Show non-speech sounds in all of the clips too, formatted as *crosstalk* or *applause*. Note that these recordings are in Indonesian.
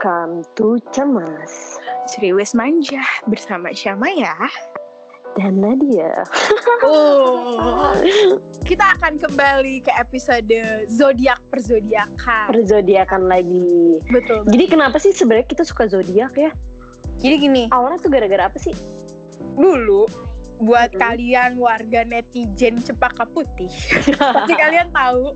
Satu Cemas Serius Manja bersama Syama ya. dan Nadia. *laughs* Oh. Kita akan kembali ke episode zodiak perzodiakan. Perzodiakan lagi. Betul. Jadi kenapa sih sebenarnya kita suka zodiak ya? Jadi gini, Awalnya tuh gara-gara apa sih? dulu buat Mhm. kalian warga netizen cepaka *laughs* putih, pasti kalian tahu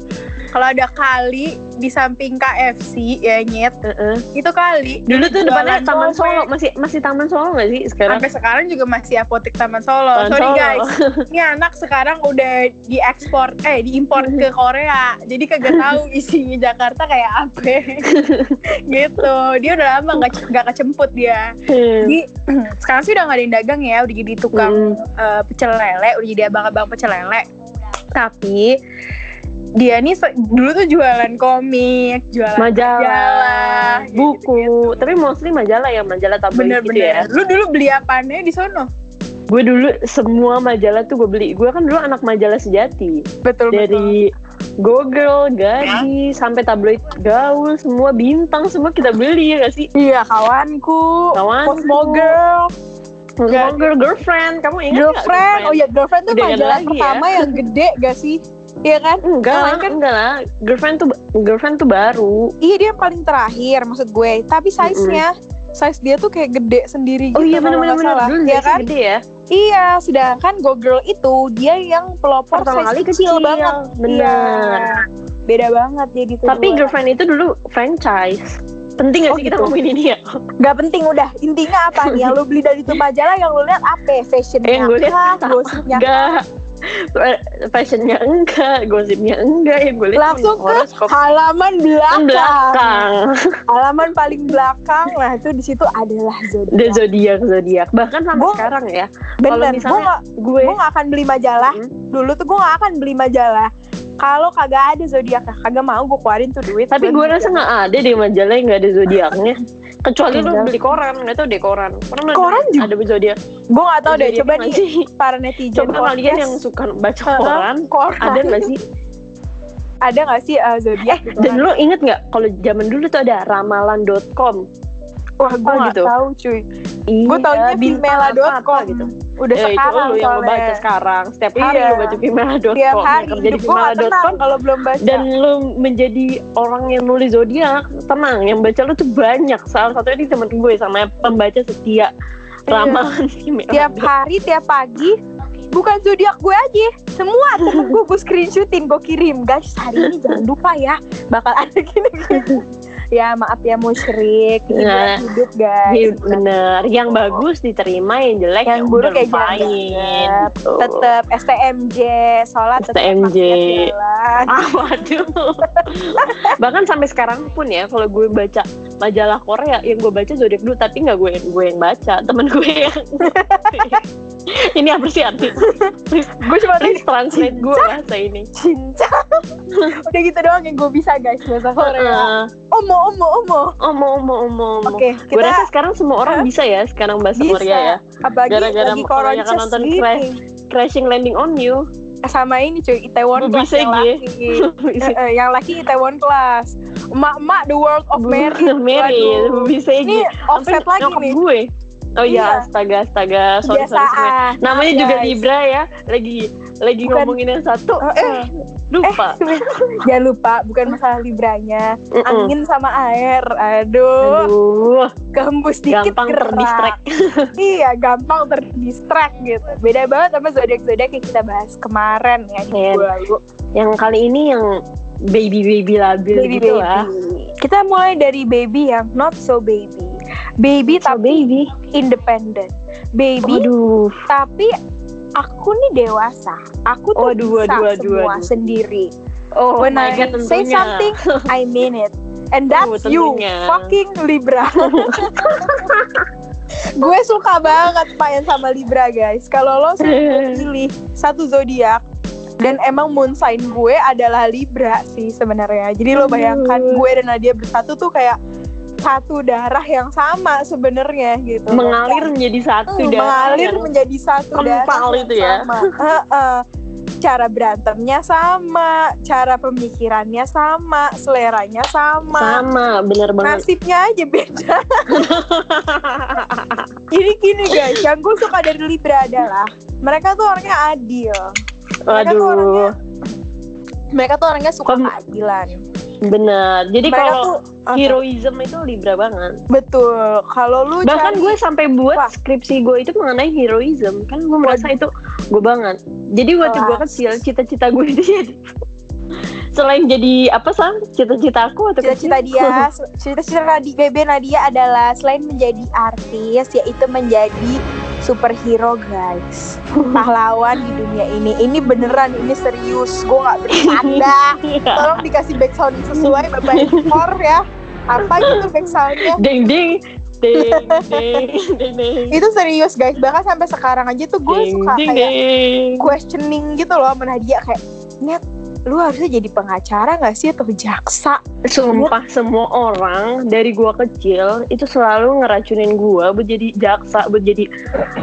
kalau ada kali di samping KFC ya nyet, Heeh. itu kali Dulu tuh depannya Jualan Taman dompet. Solo masih masih Taman Solo nggak sih sekarang? Sampai sekarang juga masih apotek Taman Solo. Taman Sorry Solo. *laughs* guys, ini anak sekarang udah diekspor, eh diimpor ke Korea. Jadi kagak tahu isinya Jakarta kayak apa. *laughs* gitu. Dia udah lama nggak nggak kecemput dia. Jadi *clears throat* sekarang sih udah nggak ada yang dagang ya, udah jadi tukang Hmm. eh, pecel lele, udah jadi abang-abang pecel lele. Tapi dia nih se- dulu tuh jualan komik, jualan gitu majalah, majalah, kayak buku, tapi mostly majalah ya, majalah tabloid gitu ya. Bener-bener. Lu dulu beli apanya di sono? Gue dulu semua majalah tuh gue beli. Gue kan dulu anak majalah sejati. Betul betul. Dari Go Girl, Gaji, sampai tabloid Gaul, semua bintang, semua kita beli ya gak sih? Iya kawanku, Kawan, Cosmo Girl, Iya, Go Girl, Girlfriend, kamu ingat nggak Girlfriend. Oh iya Girlfriend tuh Udah nggak ada majalah lagi ya? pertama yang gede gak sih? Iya kan? Enggak lah, Soalnya kan- enggak lah. Girlfriend tuh girlfriend tuh baru. Iya dia yang paling terakhir maksud gue. Tapi size-nya, size dia tuh kayak gede sendiri Oh gitu. iya kalau benar benar nggak benar. salah. Dulu Iya Zazie kan? gede ya. Iya, sedangkan Go Girl itu dia yang pelopor Pertama size kali kecil, kecil, banget. benar. Iya. Beda banget dia gitu. Tapi girlfriend itu dulu franchise. Penting gak Oh, sih kita gitu. ngomongin ini ya? Gak penting udah intinya apa nih yang lo beli dari itu majalah yang lo lihat apa fashionnya Yang gue lihat kah, apa? gosipnya Enggak. Fashionnya enggak, gosipnya enggak yang gue lihat Langsung cuma horoskop halaman kan belakang. belakang halaman paling belakang nah itu di situ adalah dan zodiak zodiak zodiak bahkan sampai Gua- sekarang ya kalau bener gue misalnya gak gue gue gak akan beli majalah Hmm. dulu tuh gue gak akan beli majalah kalau kagak ada zodiak nah, kagak mau gue keluarin tuh duit tapi gue rasa nggak ada deh majalah yang nggak ada zodiaknya kecuali lu Enggak. beli koran nggak tau deh koran koran, Koran ada, juga. ada zodiak gue gak tau deh zodiak coba nggak nih *laughs* sih? para netizen coba kalian podcast, yang suka baca eh, koran koran. ada nggak sih ada gak sih eh, zodiak gitu dan kan? lu inget nggak kalau zaman dulu tuh ada ramalan.com wah gue apa gak gitu? tahu cuy gue Iya, taunya bintang vimela.com apa-apa gitu udah Ya, itu sekarang lu yang lu soalnya. baca sekarang setiap hari Iya. lu baca vimela.com tiap yang hari kerja di hidup gue gak tenang vimela.com kalau belum baca dan Nah. lu menjadi orang yang nulis zodiak tenang yang baca lu tuh banyak salah satunya di temen gue sama pembaca setia *laughs* ramalan Vimela. tiap Iya. hari tiap pagi bukan zodiak gue aja semua temen gue gue screenshotin gue kirim guys hari ini jangan lupa ya bakal ada gini gini ya maaf ya musyrik ini Nah, hidup guys Iya, bener yang bagus diterima yang jelek Yang ya buruk udah ya jangan lupain, dianggap. gitu. *laughs* tetep STMJ sholat tetep STMJ. pakai jalan. ah waduh bahkan sampai sekarang pun ya kalau gue baca majalah Korea yang gue baca zodiak dulu tapi nggak gue gue yang baca temen gue *laughs* yang *laughs* ini apa sih arti gue cuma tuh please translate gue bahasa ini cinta udah gitu doang yang gue bisa guys bahasa Korea Heeh. omo omo omo omo omo omo Ah. omo oke gue kita rasa sekarang semua orang bisa ya sekarang bahasa Bisa. Korea ya apalagi gara-gara lagi kebanyakan koronces nonton gini. Crash. crashing landing on you *laughs* sama ini cuy Itaewon Gue Class bisa, gitu ya. yang Gie. laki Eh, eh, yang laki Itaewon Class emak-emak the world *laughs* of oh, Mary Mary Waduh. bisa ini gitu offset lagi nih gue oh iya Iya. astaga astaga sorry sorry, sorry kebiasaan namanya juga Guys. Libra ya lagi lagi Bukan. ngomongin yang satu Oh, eh. eh lupa *laughs* jangan lupa bukan masalah libranya Mm-mm. Eh, angin sama air aduh Aduh, kehembus dikit gampang gerak. terdistract iya gampang terdistract gitu beda banget sama zodiak-zodiak yang kita bahas kemarin ya Iya. di minggu lalu. yang kali ini yang baby baby labil Baby gitu baby. lah kita mulai dari baby yang not so baby baby so tapi baby Oh, independent baby waduh tapi aku nih dewasa aku tuh Waduh, bisa waduh, waduh, semua waduh. sendiri oh when my I god tentunya say something I mean it and that's Oh, you tentunya. fucking *laughs* Libra gue suka banget payan sama Libra guys kalau lo suruh gue pilih satu zodiak dan emang moon sign gue adalah Libra sih sebenarnya jadi lo bayangkan Aduh. gue dan Nadia bersatu tuh kayak satu darah yang sama sebenarnya gitu *laughs* mengalir menjadi satu Hmm, darah mengalir yang- menjadi satu kental darah yang itu ya. sama. Heeh. cara berantemnya sama, cara pemikirannya sama, seleranya sama. sama bener *laughs* banget Nasibnya aja beda. *laughs* Jadi gini guys, yang gue suka dari Libra adalah mereka tuh orangnya adil. mereka tuh waduh orangnya- Mereka tuh orangnya suka Kom- keadilan. bener jadi mereka kalau tuh apa? heroism itu libra banget betul. Kalau lu bahkan cari- gue sampai buat Wah. skripsi gue itu mengenai heroism kan gue merasa itu gue banget jadi waktu gue Kelas. kecil cita-cita gue itu jadi *laughs* selain jadi apa sam cita-cita aku waktu Cita-cita kecil. *laughs* dia, cita-cita Nadi, BB Nadia adalah selain menjadi artis, yaitu menjadi superhero guys. Pahlawan di dunia ini. Ini beneran, ini serius. Gue gak bercanda. Iya. Tolong dikasih background sesuai Bapak Ekor ya. Apa gitu backsoundnya? ding ding ding ding ding ding Itu serius guys, bahkan sampai sekarang aja tuh *laughs* gue ding suka ding kayak ding questioning gitu loh sama Nadia kayak, Net, lu harusnya jadi pengacara gak sih atau jaksa? Sumpah semua orang dari gua kecil itu selalu ngeracunin gua buat jadi jaksa, buat jadi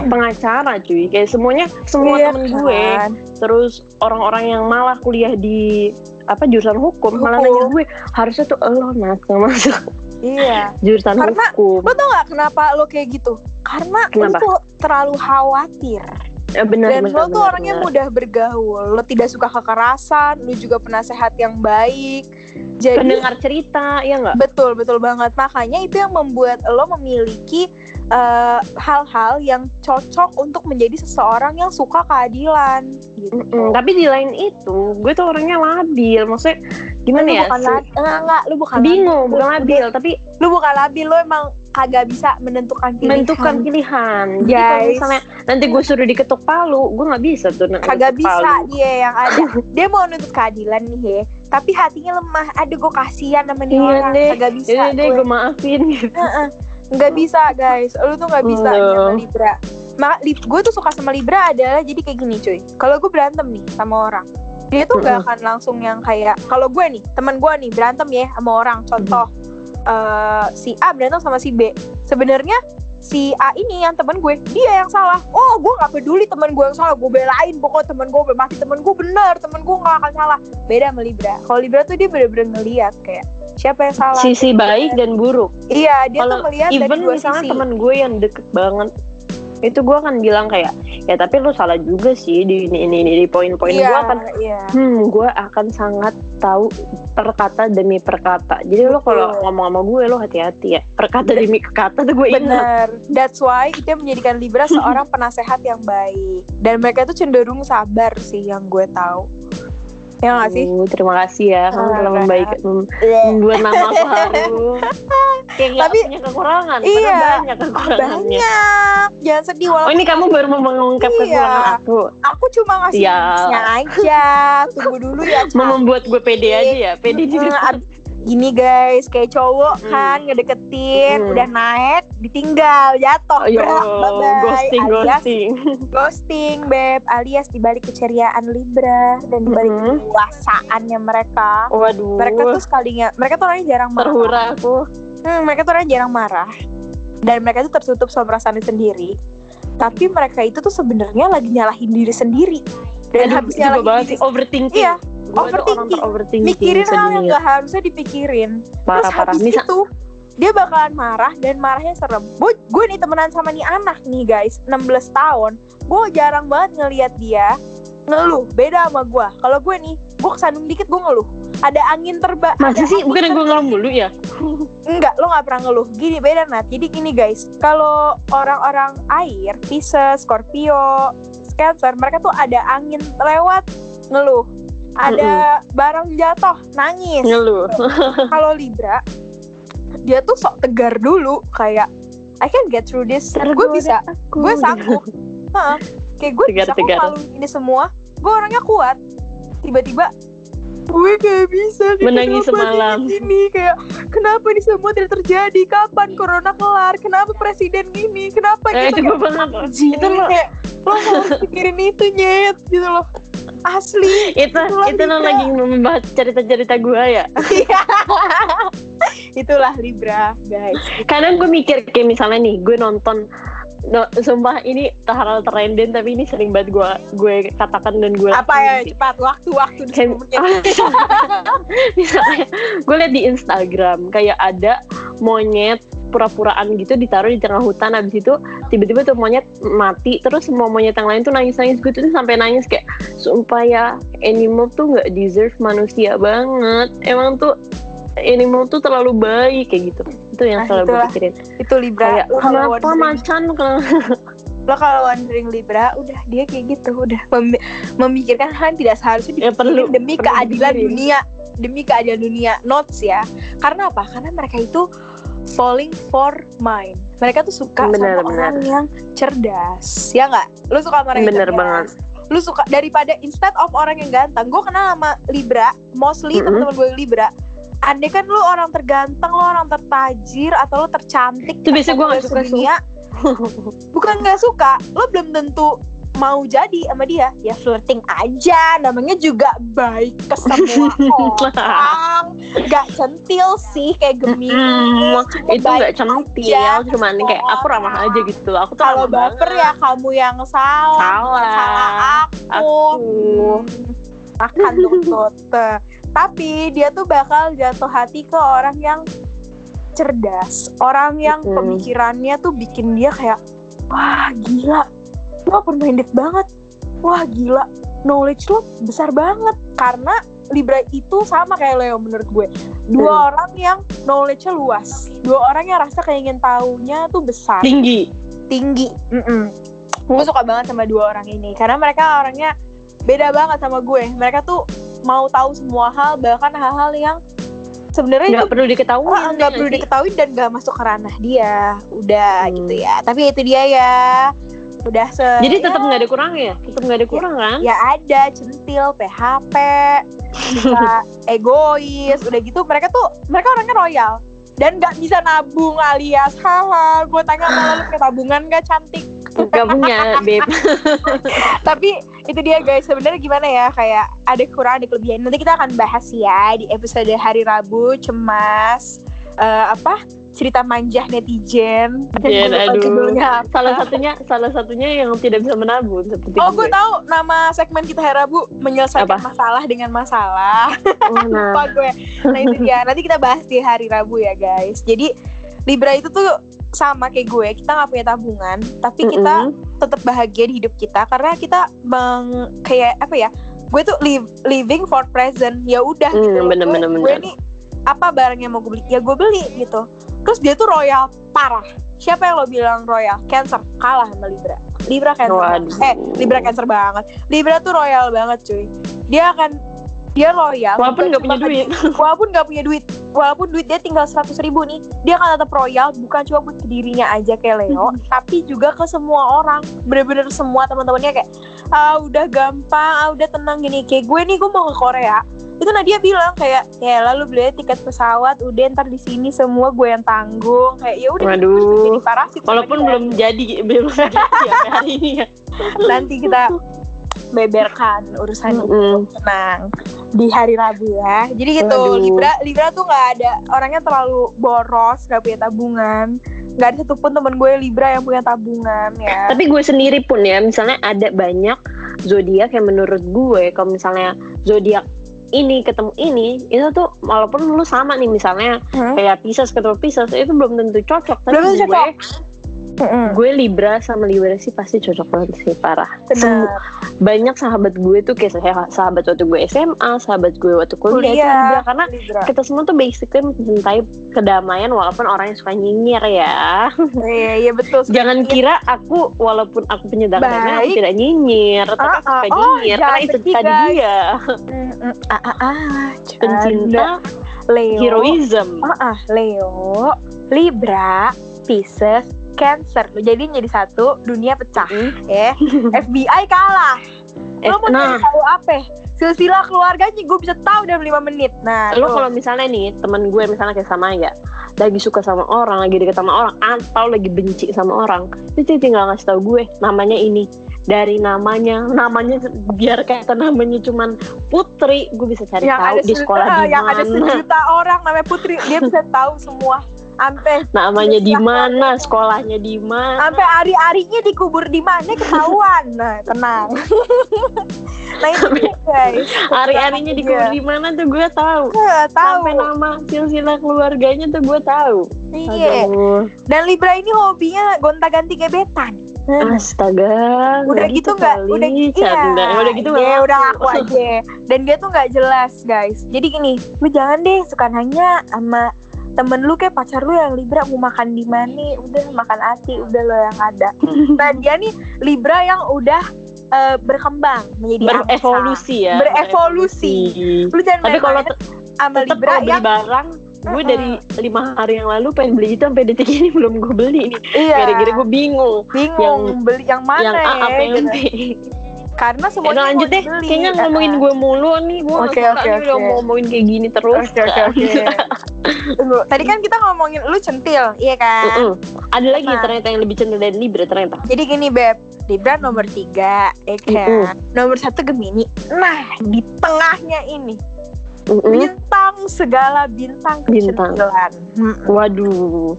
pengacara cuy. Kayak semuanya semua Iya temen gue, kan? terus orang-orang yang malah kuliah di apa jurusan hukum, malah Hukum. nanya gue harusnya tuh lo nat nggak masuk Iya. jurusan Karena- hukum. Lo tau gak kenapa lo kayak gitu? Karena Kenapa? lo tuh terlalu khawatir Eh, benar Dan benar, lo tuh benar, orangnya benar. mudah bergaul Lo tidak suka kekerasan Lo juga penasehat yang baik Jadi pendengar cerita ya nggak? betul-betul banget Makanya itu yang membuat lo memiliki eh, Hal-hal yang cocok untuk menjadi seseorang yang suka keadilan gitu. Mm-mm. Tapi di lain itu, gue tuh orangnya labil. Maksudnya gimana Lu ya? bukan se- labil, enggak, enggak, lu bukan bingung, labil. bukan labil, tapi labil. Lu bukan labil, lu emang kagak bisa menentukan pilihan. menentukan pilihan. Jadi kalau Guys. misalnya nanti gue suruh diketuk palu, gue nggak bisa tuh ngeketuk kagak palu. bisa dia yang ada dia mau nuntut keadilan nih ya tapi hatinya lemah aduh gue kasihan sama dia Iya orang deh. kagak bisa Jadi deh gue. gue maafin gitu. Heeh. nggak bisa guys lu tuh nggak bisa Aduh. nih sama libra maka gue tuh suka sama libra adalah jadi kayak gini cuy kalau gue berantem nih sama orang dia tuh nggak akan langsung yang kayak kalau gue nih teman gue nih berantem ya sama orang contoh eh, si A berantem sama si B sebenarnya si A ini yang teman gue dia yang salah oh gue nggak peduli teman gue yang salah gue belain pokoknya teman gue be- mati teman gue bener teman gue nggak akan salah beda sama Libra kalau Libra tuh dia bener-bener ngeliat kayak siapa yang salah Sisi baik dan buruk. iya dia tuh Kalau melihat dari Even dua misalnya sisi teman gue yang deket banget itu gue akan bilang kayak ya tapi lu salah juga sih di ini ini, ini di poin-poin iya, gue akan iya. hmm gue akan sangat tahu perkata demi perkata jadi lo Betul. kalau ngomong sama gue lo hati-hati ya perkata demi kata tuh gue ingat Bener, that's why itu yang menjadikan *laughs* Libra seorang penasehat yang baik Dan mereka tuh cenderung sabar sih yang gue tahu Ya gak sih? Uh, terima kasih ya kamu telah Ah. membaik mem- membuat *laughs* nama aku harum kayak nggak Tapi- punya kekurangan padahal Iya. banyak kekurangannya Banyak, jangan sedih oh walaupun ini kamu baru mau mengungkap Iya. kekurangan aku aku cuma ngasih Iya. tipsnya aja Tunggu dulu ya mau membuat gue pede aja ya pede di Hmm, ab- Gini guys, kayak cowok Mm. kan ngedeketin, Hmm. udah naik, ditinggal, Oh, jatuh, ya brak, Allah, bye-bye, ghosting alias ghosting Ghosting, Beb, alias dibalik keceriaan Libra dan dibalik Mhm. kedewasaannya mereka. waduh Mereka tuh sekalinya, mereka tuh orangnya jarang marah. terhura aku Hmm, mereka tuh orangnya jarang marah. Dan mereka tuh tertutup sama perasaannya sendiri. Tapi mereka itu tuh sebenarnya lagi nyalahin diri sendiri. Dan Aduh, habis itu juga nyalahin banget diri, sih overthinking Iya, Gue tuh orang overthinking. ter-overthinking mikirin hal yang sendiri. gak harusnya dipikirin. Terus parah-parah habis misal itu dia bakalan marah dan marahnya serem. Bu, gue nih temenan sama nih anak nih guys, 16 tahun. Gue jarang banget ngelihat dia ngeluh. Beda sama gue. Kalau gue nih, gue kesandung dikit gue ngeluh. Ada angin terba. masa ada sih angin bukan yang gue ngeluh mulu ya Enggak, lo nggak pernah ngeluh. Gini beda Nat. Jadi gini guys, kalau orang-orang air, Pisces, Scorpio, Cancer, mereka tuh ada angin lewat ngeluh. Ada barang jatuh, nangis. ngeluh *laughs* Kalau Libra, dia tuh sok tegar dulu kayak I can get through this. Gue bisa, gue sanggup. Heeh. Kayak gue bisa kok Tegar-tegar. ngelaluin ini semua. Gue orangnya kuat. Tiba-tiba gue gak bisa gitu nih, Menangis kenapa semalam. nih gini kayak kenapa ini semua tidak terjadi kapan corona kelar kenapa presiden gini kenapa *laughs* eh, itu gitu gue banget Anjing, *laughs* itu lo kayak, lo harus pikirin itu nyet gitu loh asli *laughs* itu Itu lo itu lo Libra. lagi membahas cerita-cerita gue ya itulah Libra guys kadang gue mikir kayak misalnya nih gue nonton no, sumpah ini hal trending tapi ini sering banget gue gue katakan dan gue apa ya cepat waktu waktu *laughs* Kayak- *laughs* misalnya gue liat di Instagram kayak ada monyet pura-puraan gitu ditaruh di tengah hutan habis itu tiba-tiba tuh monyet mati terus semua monyet yang lain tuh nangis-nangis gue tuh sampai nangis kayak sumpah ya animal tuh nggak deserve manusia banget emang tuh animal tuh terlalu baik kayak gitu itu yang Nah, selalu gue itulah. pikirin itu libra kayak Lo kalau kenapa wondering- macan kalau *laughs* lo kalau wondering libra udah dia kayak gitu udah Mem- memikirkan hal yang tidak ya seharusnya Ini perlu demi perlu keadilan dipikirin. dunia demi keadilan dunia notes ya karena apa karena mereka itu falling for mine mereka tuh suka Benar, benar. sama orang yang cerdas ya nggak lu suka sama orang yang Benar cerdas. banget. lu suka daripada instead of orang yang ganteng gue kenal sama libra mostly Mm-mm. teman-teman gue libra Andai kan lu orang terganteng, lu orang tertajir, atau lu tercantik Itu biasanya atau gua nggak lu suka, *laughs* sedunia. Iya. Bukan nggak suka, lu belum tentu mau jadi sama dia ya flirting aja namanya juga baik ke *laughs* semua orang nggak centil sih kayak gemini Hmm, cuma itu baik nggak centil aja. cuman kayak aku ramah aja gitu aku tuh kalau ramah baper banget. ya kamu yang salah Salah. aku, Hmm, makan dong Tote. tapi dia tuh bakal jatuh hati ke orang yang cerdas orang yang Mm-mm. pemikirannya tuh bikin dia kayak wah gila lo open minded banget wah gila knowledge lo besar banget karena Libra itu sama kayak Leo menurut gue dua Hmm. orang yang knowledge-nya luas dua orang yang rasa keingin tahunya tuh besar tinggi tinggi. Gue suka banget sama dua orang ini karena mereka orangnya beda banget sama gue. Mereka tuh mau tahu semua hal bahkan hal-hal yang sebenarnya nggak itu perlu diketahui ah, nggak perlu diketahui dan nggak masuk ke ranah dia. Udah Hmm. gitu ya. Tapi itu dia ya. Udah se jadi tetap ya, nggak ada kurang ya tetap nggak ada kurang kan ya ada centil, PHP, *laughs* bisa egois, udah gitu mereka tuh mereka orangnya royal dan nggak bisa nabung alias haha gue tanya malah *laughs* lu punya tabungan nggak cantik nggak punya *laughs* beb tapi itu dia guys sebenarnya gimana ya kayak ada kurang ada kelebihan nanti kita akan bahas ya di episode hari Rabu cemas eh, apa cerita manja netizen Jen, Dan gue lupa Iya, aduh. judulnya apa. salah satunya salah satunya yang tidak bisa menabung seperti oh gue tahu nama segmen kita hari Rabu menyelesaikan Apa? masalah dengan masalah Oh, *laughs* nah. lupa gue nah itu dia nanti kita bahas di hari Rabu ya guys jadi Libra itu tuh sama kayak gue kita nggak punya tabungan tapi kita Mm-mm. tetap bahagia di hidup kita karena kita meng kayak apa ya gue tuh live, living for present ya udah Hmm, gitu loh. bener, gue, bener, gue bener. nih apa barang yang mau gue beli ya gue beli gitu terus dia tuh royal parah siapa yang lo bilang royal cancer kalah sama libra libra cancer Waduh. banget. eh libra cancer banget libra tuh royal banget cuy dia akan dia royal walaupun bukan nggak punya cuma ke duit walaupun nggak punya duit walaupun duit dia tinggal seratus ribu nih dia akan tetap royal bukan cuma buat dirinya aja kayak Leo Mm-hmm. tapi juga ke semua orang bener-bener semua teman-temannya kayak ah udah gampang ah udah tenang gini kayak gue nih gue mau ke Korea itu Nadia bilang kayak ya lalu beli tiket pesawat udah ntar di sini semua gue yang tanggung kayak ya udah Waduh. terus jadi parasit sama walaupun dia. belum jadi *laughs* belum jadi sampai hari ini ya nanti kita beberkan urusan itu Mm-mm. tenang di hari Rabu ya. Jadi gitu Waduh. Libra Libra tuh nggak ada orangnya terlalu boros, nggak punya tabungan, nggak ada satupun temen gue Libra yang punya tabungan ya. *laughs* tapi gue sendiri pun ya misalnya ada banyak zodiak yang menurut gue kalau misalnya zodiak ini ketemu ini itu tuh walaupun lu sama nih misalnya Hmm. kayak Pisces ketemu Pisces itu belum tentu cocok tapi Belum tentu gue cocok. Mm-mm. gue Libra sama Libra sih pasti cocok banget sih parah Bener. banyak sahabat gue tuh kayak sah- sahabat waktu gue SMA sahabat gue waktu kuliah, itu Kuliah. Libra karena Libra. kita semua tuh basically mencintai kedamaian walaupun orang yang suka nyinyir ya Iya iya betul. jangan kira aku walaupun aku penyedang Baik. damai aku tidak nyinyir tapi Ah, aku suka ah, oh, nyinyir jangan karena itu sedih, tadi guys. dia Mm-mm. ah ah ah. pencinta Canda. Leo. heroism Ah ah Leo, Libra, Pisces, Cancer. Lo jadi jadi satu, dunia pecah. *laughs* ya FBI kalah. Eh, lo mau nah. cari tahu apa? Silsilah keluarganya gue bisa tahu dalam 5 menit. Nah, lo tuh. kalau misalnya nih teman gue misalnya kayak sama ya lagi suka sama orang lagi deket sama orang atau lagi benci sama orang itu dia tinggal ngasih tau gue namanya ini dari namanya namanya biar kata namanya cuman Putri gue bisa cari yang tahu ada di se- sekolah ah, di *laughs* yang ada mana sejuta orang namanya Putri, dia bisa tahu semua Ampe namanya Iya. di mana sekolahnya di mana Sampai ari-arinya dikubur di mana ketahuan. Nah, tenang. *laughs* nah itu dia, guys. hari-harinya dikubur Iya. di mana tuh gue tahu Eh, Tahu. sampai nama silsilah keluarganya tuh gue tahu Iya. Aduh, Dan Libra ini hobinya gonta-ganti gebetan. Eh, astaga udah ngeri gitu tuh nggak kali, udah gitu canda. iya, udah gitu dia nggak udah laku. ngaku aja dan dia tuh nggak jelas guys jadi gini lu jangan deh suka nanya sama temen lu kayak pacar lu yang libra mau makan di mana udah makan hati udah lo yang *laughs* ada nah dia nih libra yang udah eh, berkembang menjadi angsa. berevolusi ya Berevolusi. lu jangan tapi kalau main-main sama tetap libra kalau beli yang barang gue Mm-mm. dari lima hari yang lalu pengen beli itu sampai detik ini belum gue beli ini iya gara-gara gue bingung bingung beli yang yang mana A ya apa yang gitu. B karena Udah semuanya lanjut mau deh, dibeli. kayaknya Eh, ngomongin gue mulu nih Gue Oke, gak suka oke, nih udah oke. mau ngomongin kayak gini terus Oke oke oke. Tunggu, Tadi kan kita ngomongin lu centil, iya kan? Mm-mm. Ada lagi Apa? ternyata yang lebih cenderung dari Libra ternyata Jadi gini beb, Libra nomor tiga, ya kan? Nomor satu Gemini. Nah di tengahnya ini Mm-mm. bintang segala bintang Bintang. kecentilan. Mm-mm. Waduh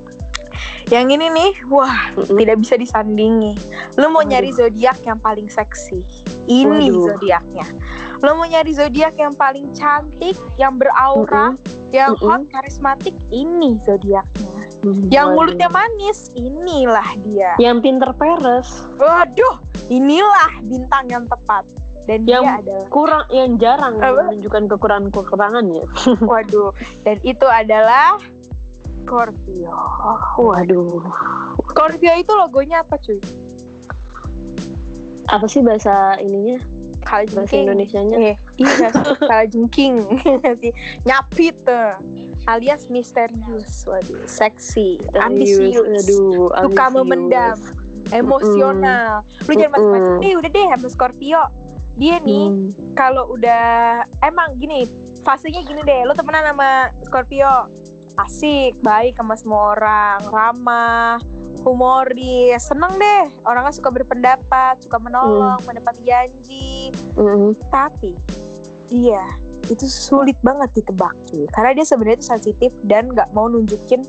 Yang ini nih, wah Mm-mm. tidak bisa disandingi. Lu mau Waduh. nyari zodiak yang paling seksi, ini Waduh. zodiaknya. Lu mau nyari zodiak yang paling cantik, yang beraura, yang Mm-mm. hot, karismatik, ini zodiaknya. Mm, Yang waduh. mulutnya manis, inilah dia. Yang pinter peres Waduh, inilah bintang yang tepat. Dan Yang- *laughs* dia adalah, Kurang, yang jarang Apa? menunjukkan ya. kekurangan-kekurangannya waduh, dan itu adalah Scorpio. Ah, Waduh Scorpio itu logonya apa cuy? Apa sih bahasa ininya? Bahasa Kalajengking. Indonesianya Eh, iya, kalajengking. *laughs* Si Nyapit tuh. Alias misterius, waduh, seksi, ambisius, Aduh suka ambisius. memendam, emosional. Lu jangan Mm-mm. macam-macam. Eh, udah deh, sama Scorpio. Dia nih Hmm. kalau udah emang gini fasenya gini deh lo temenan sama Scorpio asik baik sama semua orang ramah humoris seneng deh orangnya suka berpendapat suka menolong menepati janji Mm-mm. tapi dia itu sulit banget ditebak cuy. karena dia sebenarnya itu sensitif dan nggak mau nunjukin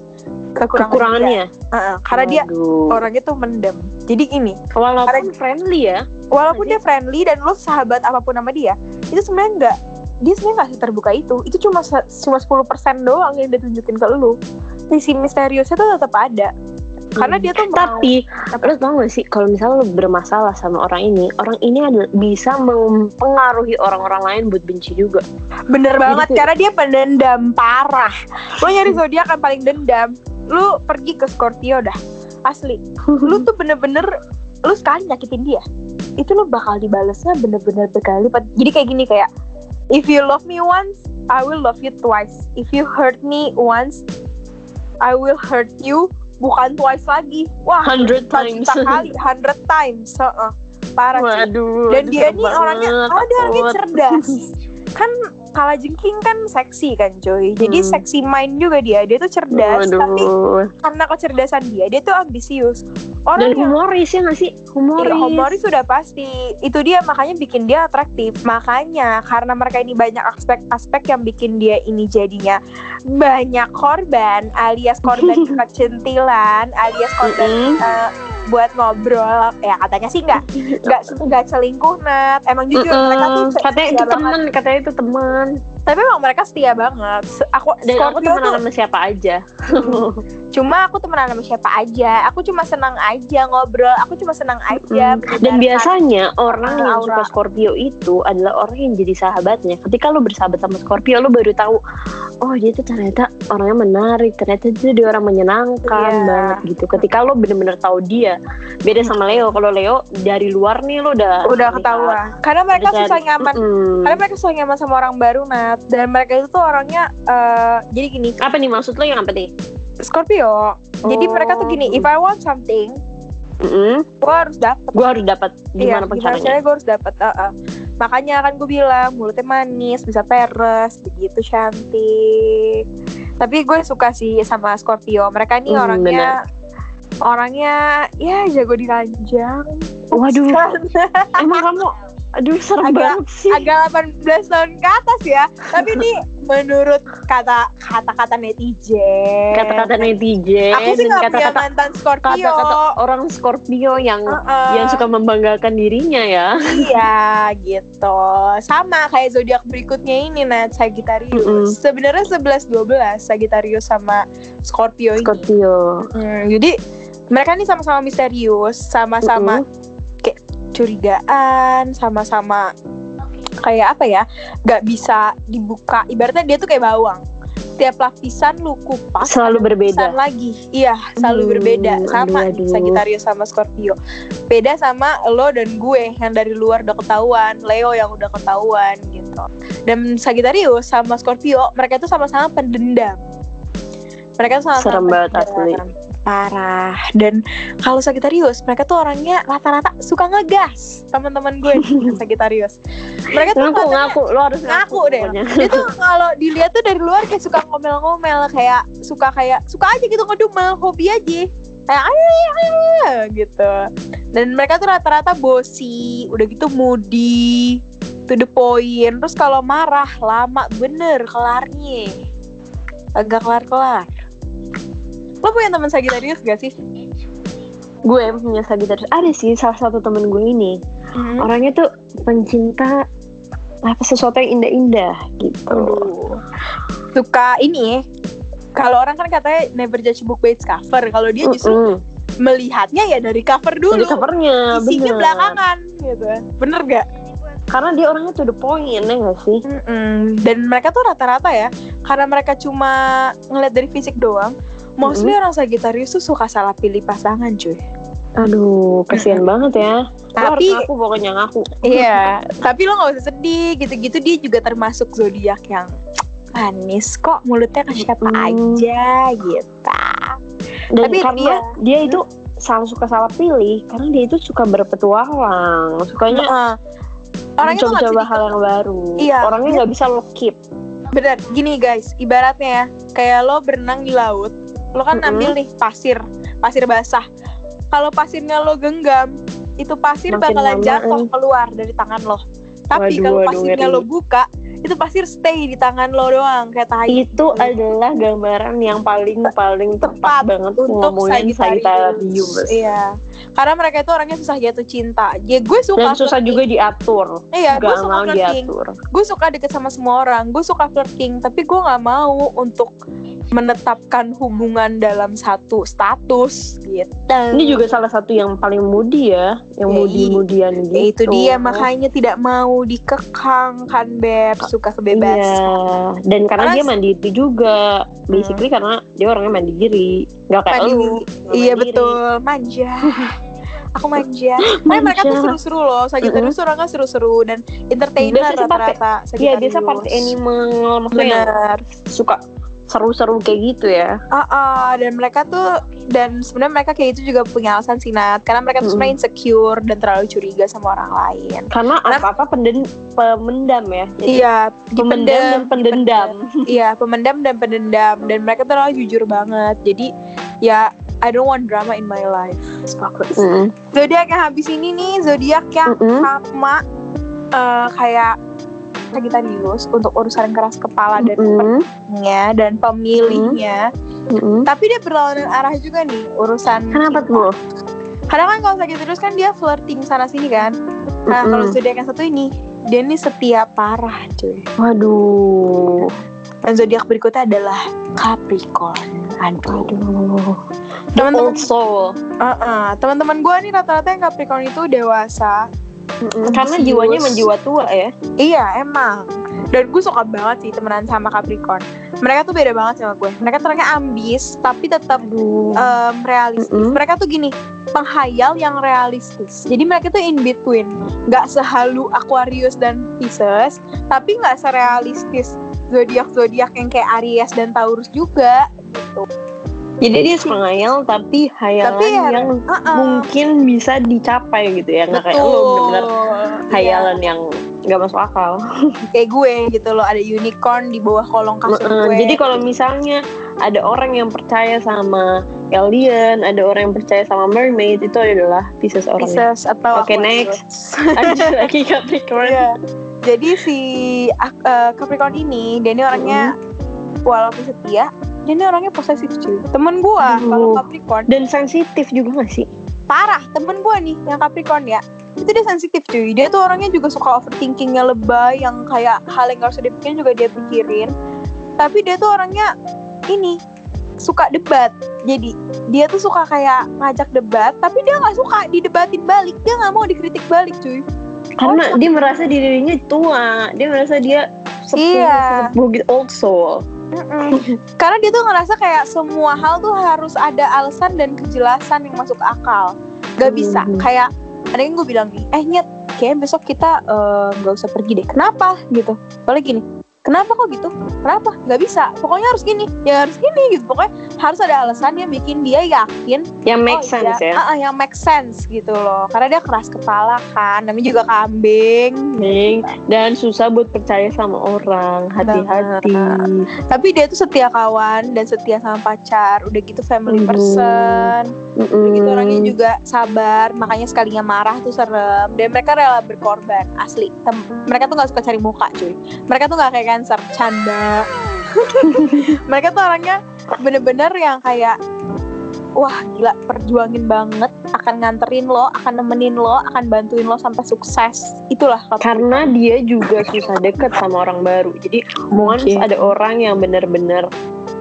kekurangan dia. Kekurangannya Hmm. Heeh, karena dia Waduh. orangnya tuh mendem jadi gini Walaupun Karena- friendly ya walaupun Jadi- dia friendly dan lo sahabat apapun sama dia itu sebenarnya nggak dia sebenarnya nggak terbuka itu itu cuma se- cuma 10% doang yang dia tunjukin ke lo sisi misteriusnya tuh tetap ada Hmm. karena dia tuh mau Tapi lo tau gak sih kalau misalnya lo bermasalah sama orang ini, orang ini adalah bisa mempengaruhi orang-orang lain buat benci juga. bener banget Jadi- karena dia pendendam parah lo nyari zodiak yang paling dendam lu pergi ke Scorpio dah *laughs* asli lu tuh bener-bener lu sekali nyakitin dia itu lu bakal dibalesnya bener-bener berkali lipat jadi kayak gini kayak if you love me once I will love you twice if you hurt me once I will hurt you bukan twice lagi wah 100 juta times. *laughs* kali hundred times heeh. parah cuy. Waduh. dan aduh, dia serem nih orangnya banget, oh dia orangnya takut. *laughs* cerdas kan kala jengking kan seksi kan cuy jadi Hmm. seksi mind juga dia dia tuh cerdas Waduh. tapi karena kecerdasan dia dia tuh ambisius Dan orang yang humoris ya gak sih? Humoris. Iya, humoris sudah pasti. Itu dia makanya bikin dia atraktif. Makanya karena mereka ini banyak aspek-aspek yang bikin dia ini jadinya banyak korban, *laughs* alias korban kecentilan, alias korban Mm-mm. eh, buat ngobrol. Ya katanya sih *laughs* nggak nggak nggak selingkuh Nat. Emang jujur Mm-mm. mereka tuh se- katanya setia itu banget. teman, katanya itu teman. Tapi emang mereka setia banget. Se- Aku Dan aku Scorpio temenan tuh sama siapa aja. cuma aku temenan sama siapa aja. Aku cuma senang aja ngobrol. Aku cuma senang aja. Mm. kan. Dan mendengarkan. biasanya orang yang aura. suka Scorpio itu adalah orang yang jadi sahabatnya. Ketika lo bersahabat sama Scorpio, lo baru tahu, oh dia tuh ternyata orangnya menarik, ternyata dia, dia orang menyenangkan Iya. Hmm. banget gitu. Ketika lo bener-bener tahu dia, beda sama Leo. Kalau Leo dari luar nih lo udah udah ketahuan karena mereka Udah susah cari. nyaman gitu. Mm-mm. karena mereka susah nyaman sama orang baru Nat dan mereka itu tuh orangnya eh, jadi gini Apa nih maksud lo yang apa nih? Scorpio jadi Oh. mereka tuh gini if I want something Mm-mm. gue harus dapet Gue harus dapat Iya, gimana pun gimana caranya. caranya gue harus dapet eh, eh. makanya kan gue bilang mulutnya manis bisa peres begitu cantik tapi gue suka sih sama Scorpio mereka nih Hmm, orangnya orangnya ya jago diranjang *laughs* Waduh, emang kamu, aduh serem Agak- banget sih. agak 18 tahun ke atas ya tapi ini menurut kata kata-kata netizen. Kata-kata netizen Aku dan sih nggak punya kata-kata mantan Scorpio. kata-kata orang Scorpio yang Heeh. yang suka membanggakan dirinya ya. Iya gitu Sama kayak zodiak berikutnya ini Mm-mm. Nat Sagittarius Sebenarnya 11-12 Sagittarius sama Scorpio ini Scorpio. Hmm, Jadi mereka nih sama-sama misterius Sama-sama curigaan Sama-sama kayak apa ya Gak bisa dibuka Ibaratnya dia tuh kayak bawang Tiap lapisan lu kupas Selalu ada berbeda. lapisan lagi Iya selalu Hmm, berbeda Sama aduh, nih aduh. Sagittarius sama Scorpio beda sama lo dan gue yang dari luar udah ketahuan, Leo yang udah ketahuan gitu. Dan Sagittarius sama Scorpio, mereka itu sama-sama pendendam. Mereka tuh sama-sama Serem banget, pendendam. Parah. Dan kalau Sagittarius, mereka tuh orangnya rata-rata suka ngegas. Teman-teman *laughs* gue yang Sagittarius. Mereka tuh Ngaku kelihatannya- ngaku lo harus ngaku, Ngaku deh. pokoknya. dia tuh kalau dilihat tuh dari luar kayak suka ngomel-ngomel kayak suka kayak suka aja gitu ngedumel hobi aja kayak ayo ayo, ayo," gitu dan mereka tuh rata-rata bosi udah gitu moody to the point terus kalau marah lama bener kelarnya agak kelar-kelar lo punya teman Sagittarius gak sih? Gue punya Sagittarius. Ada sih salah satu temen gue ini. Hmm? Orangnya tuh pencinta apa sesuatu yang indah-indah gitu. Aduh. Suka ini ya kalau orang kan katanya never judge a book by its cover kalau dia justru Mm-mm. melihatnya ya dari cover dulu Dari covernya, isinya bener. belakangan gitu bener gak? Karena dia orangnya to the point, ya nggak sih? dan mereka tuh rata-rata ya karena mereka cuma ngeliat dari fisik doang mostly orang Sagittarius tuh suka salah pilih pasangan cuy Aduh, kasihan banget ya. Lo harus Hmm. tapi ngaku pokoknya ngaku. *laughs* iya tapi lo nggak usah sedih gitu-gitu dia juga termasuk zodiak yang manis kok mulutnya kasih kata Mm. aja gitu Dan Tapi karena dia- dia, itu salah suka salah pilih karena dia itu suka berpetualang sukanya Heeh. orangnya tuh nggak bisa coba-coba hal dikenal. yang baru Iya. orangnya nggak bisa lo keep Bener, gini guys, ibaratnya ya kayak lo berenang di laut, lo kan Mm-mm. ambil nih pasir, pasir basah. Kalau pasirnya lo genggam, itu pasir Makin bakalan lama, jatuh eh. keluar dari tangan lo. Tapi Waduh, kalau waduh, pasirnya ngeri. lo buka, itu pasir stay di tangan lo doang kayak tai. itu adalah gambaran yang paling paling Tepat tepat banget Untuk ngomongin Sagittarius Iya. Karena mereka itu orangnya susah jatuh cinta. Ya gue dan suka susah flirting. juga diatur Iya, gue nggak suka mau flirting. diatur gue suka deket sama semua orang gue suka flirting tapi gue nggak mau untuk menetapkan hubungan dalam satu status gitu ini juga salah satu yang paling mudi ya yang Ya, mudi mudian Ya, gitu itu dia makanya tidak mau dikekang kan beb suka kebebasan Iya. dan karena Karena- dia mandiri juga basically karena dia orangnya mandiri nggak kayak Hmm. Mandiri. lu nggak iya mandiri. betul *laughs* manja aku manja tapi Kan mereka tuh Manja. seru-seru loh Sagittarius tuh orangnya seru-seru dan entertainer Biasanya pakai- rata-rata Iya biasa part Sagittarius. animal maksudnya yang bener suka seru-seru kayak gitu ya. Ah, ah, dan mereka tuh dan sebenarnya mereka kayak itu juga punya alasan sih Nat karena mereka tuh Mm-mm. sebenarnya insecure dan terlalu curiga sama orang lain. Karena apa-apa penden pemendam ya. Jadi Iya, pemendam *laughs* dan dipendam, pendendam. iya pemendam dan pendendam dan mereka tuh terlalu jujur banget. Jadi ya I don't want drama in my life. Bagus. Mm. Zodiak yang habis ini nih zodiak yang Mm-mm. sama eh, kayak Sagittarius untuk urusan keras kepala dan Mm. pentingnya dan pemilihnya. Mm. Tapi dia berlawanan arah juga nih urusan Kenapa tuh? Kadang kan kalau sakit terus kan dia flirting sana sini kan. Mm-mm. Nah kalau zodiak yang satu ini dia ini setia parah cuy. Waduh. Dan zodiak berikutnya adalah Capricorn. Aduh. Aduh. Teman-teman, Old soul. Uh-uh. teman-teman gue nih rata-rata yang Capricorn itu dewasa. Mm-mm. Ambisius. Karena jiwanya menjiwa tua ya. Iya emang. Dan gue suka banget sih temenan sama Capricorn. Mereka tuh beda banget sama gue. Mereka ternyata ambis tapi tetap Aduh. em, realistis. Mm-mm. Mereka tuh gini, penghayal yang realistis. Jadi mereka tuh in between, nggak sehalu Aquarius dan Pisces, tapi nggak serealistis zodiak-zodiak yang kayak Aries dan Taurus juga gitu. Jadi dia pengayal tapi hayalan Tapi ya, yang Uh-uh, mungkin bisa dicapai gitu ya. Nggak kayak lu benar-benar Iya, hayalan yang nggak masuk akal. kayak gue gitu loh, ada unicorn di bawah kolong kasur Mm-mm. gue. Jadi kalau misalnya ada orang yang percaya sama alien, ada orang yang percaya sama mermaid, itu adalah Pisces orangnya. Pisces atau Oke, Aquarius. Anjir lagi Capricorn. *laughs* Iya. Jadi si ak- eh, Capricorn ini dia ini orangnya Mm-hmm. walaupun setia, dia ini orangnya posesif cuy. Temen gua Aduh. kalau Capricorn Dan sensitif juga gak sih? parah. Temen gua nih yang Capricorn ya itu dia sensitif cuy dia tuh orangnya juga suka overthinkingnya lebay yang kayak hal yang gak usah dipikirin juga dia pikirin tapi dia tuh orangnya ini suka debat jadi dia tuh suka kayak ngajak debat tapi dia nggak suka didebatin balik dia nggak mau dikritik balik cuy Karena iya. dia merasa dirinya tua, dia merasa dia sepuh, Iya. sepuh gitu, old soul. Mm-mm. Karena dia tuh ngerasa kayak semua hal tuh harus ada alasan dan kejelasan yang masuk akal. Gak bisa. Mhm. Kayak ada yang gue bilang nih, eh nyet, kayaknya besok kita eh, nggak usah pergi deh. Kenapa gitu? Boleh gini. Kenapa kok gitu? Kenapa? Gak bisa. Pokoknya harus gini. Ya harus gini gitu. Pokoknya harus ada alasan yang bikin dia yakin. Yang make oh, sense ya. iya, ah, ah, yang make sense gitu loh. Karena dia keras kepala kan. Namanya juga kambing. Ming. Dan susah buat percaya sama orang, hati-hati. Tapi dia tuh setia kawan dan setia sama pacar. Udah gitu family Aduh. person. Mm-mm. Begitu orangnya juga sabar, makanya sekalinya marah tuh serem. Dan mereka rela berkorban, asli. Tem- mereka tuh nggak suka cari muka, cuy. Mereka tuh nggak kayak cancer, canda. *laughs* mereka tuh orangnya bener-bener yang kayak Wah gila perjuangin banget Akan nganterin lo, akan nemenin lo Akan bantuin lo sampai sukses Itulah kalau- Karena dia juga susah deket sama orang baru. Jadi once Oke. ada orang yang bener-bener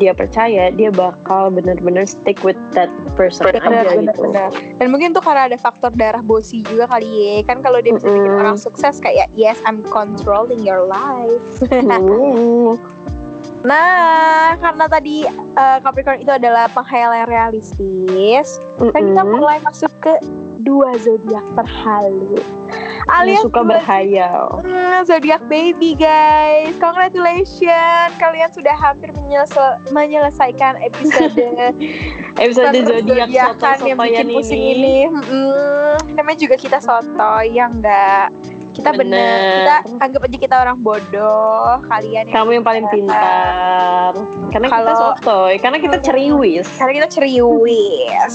dia percaya, dia bakal bener-bener stick with that person Bener, aja bener, gitu. *laughs* bener. Dan mungkin tuh karena ada faktor darah bosi juga kali ya Kan kalau dia bisa bikin Mm-mm. orang sukses kayak Yes I'm controlling your life Hmm. Nah, karena tadi eh, Capricorn itu adalah penghayalan realistis, nah kita Mm-mm. mulai masuk ke dua zodiak terhalu. Alias suka dua- berhayal. Hmm, zodiak baby guys. Congratulations, kalian sudah hampir menyelesa- menyelesaikan *laughs* episode Episode tentang zodiak zodiakan yang soto-sotoyan bikin ini. pusing ini. Mm-mm, namanya juga kita soto yang enggak kita bener. Bener. kita anggap aja kita orang bodoh kalian yang Kamu yang paling pintar. Karena kita Iya. Kalau- Iya. sotoy, karena kita ceriwis. Karena kita ceriwis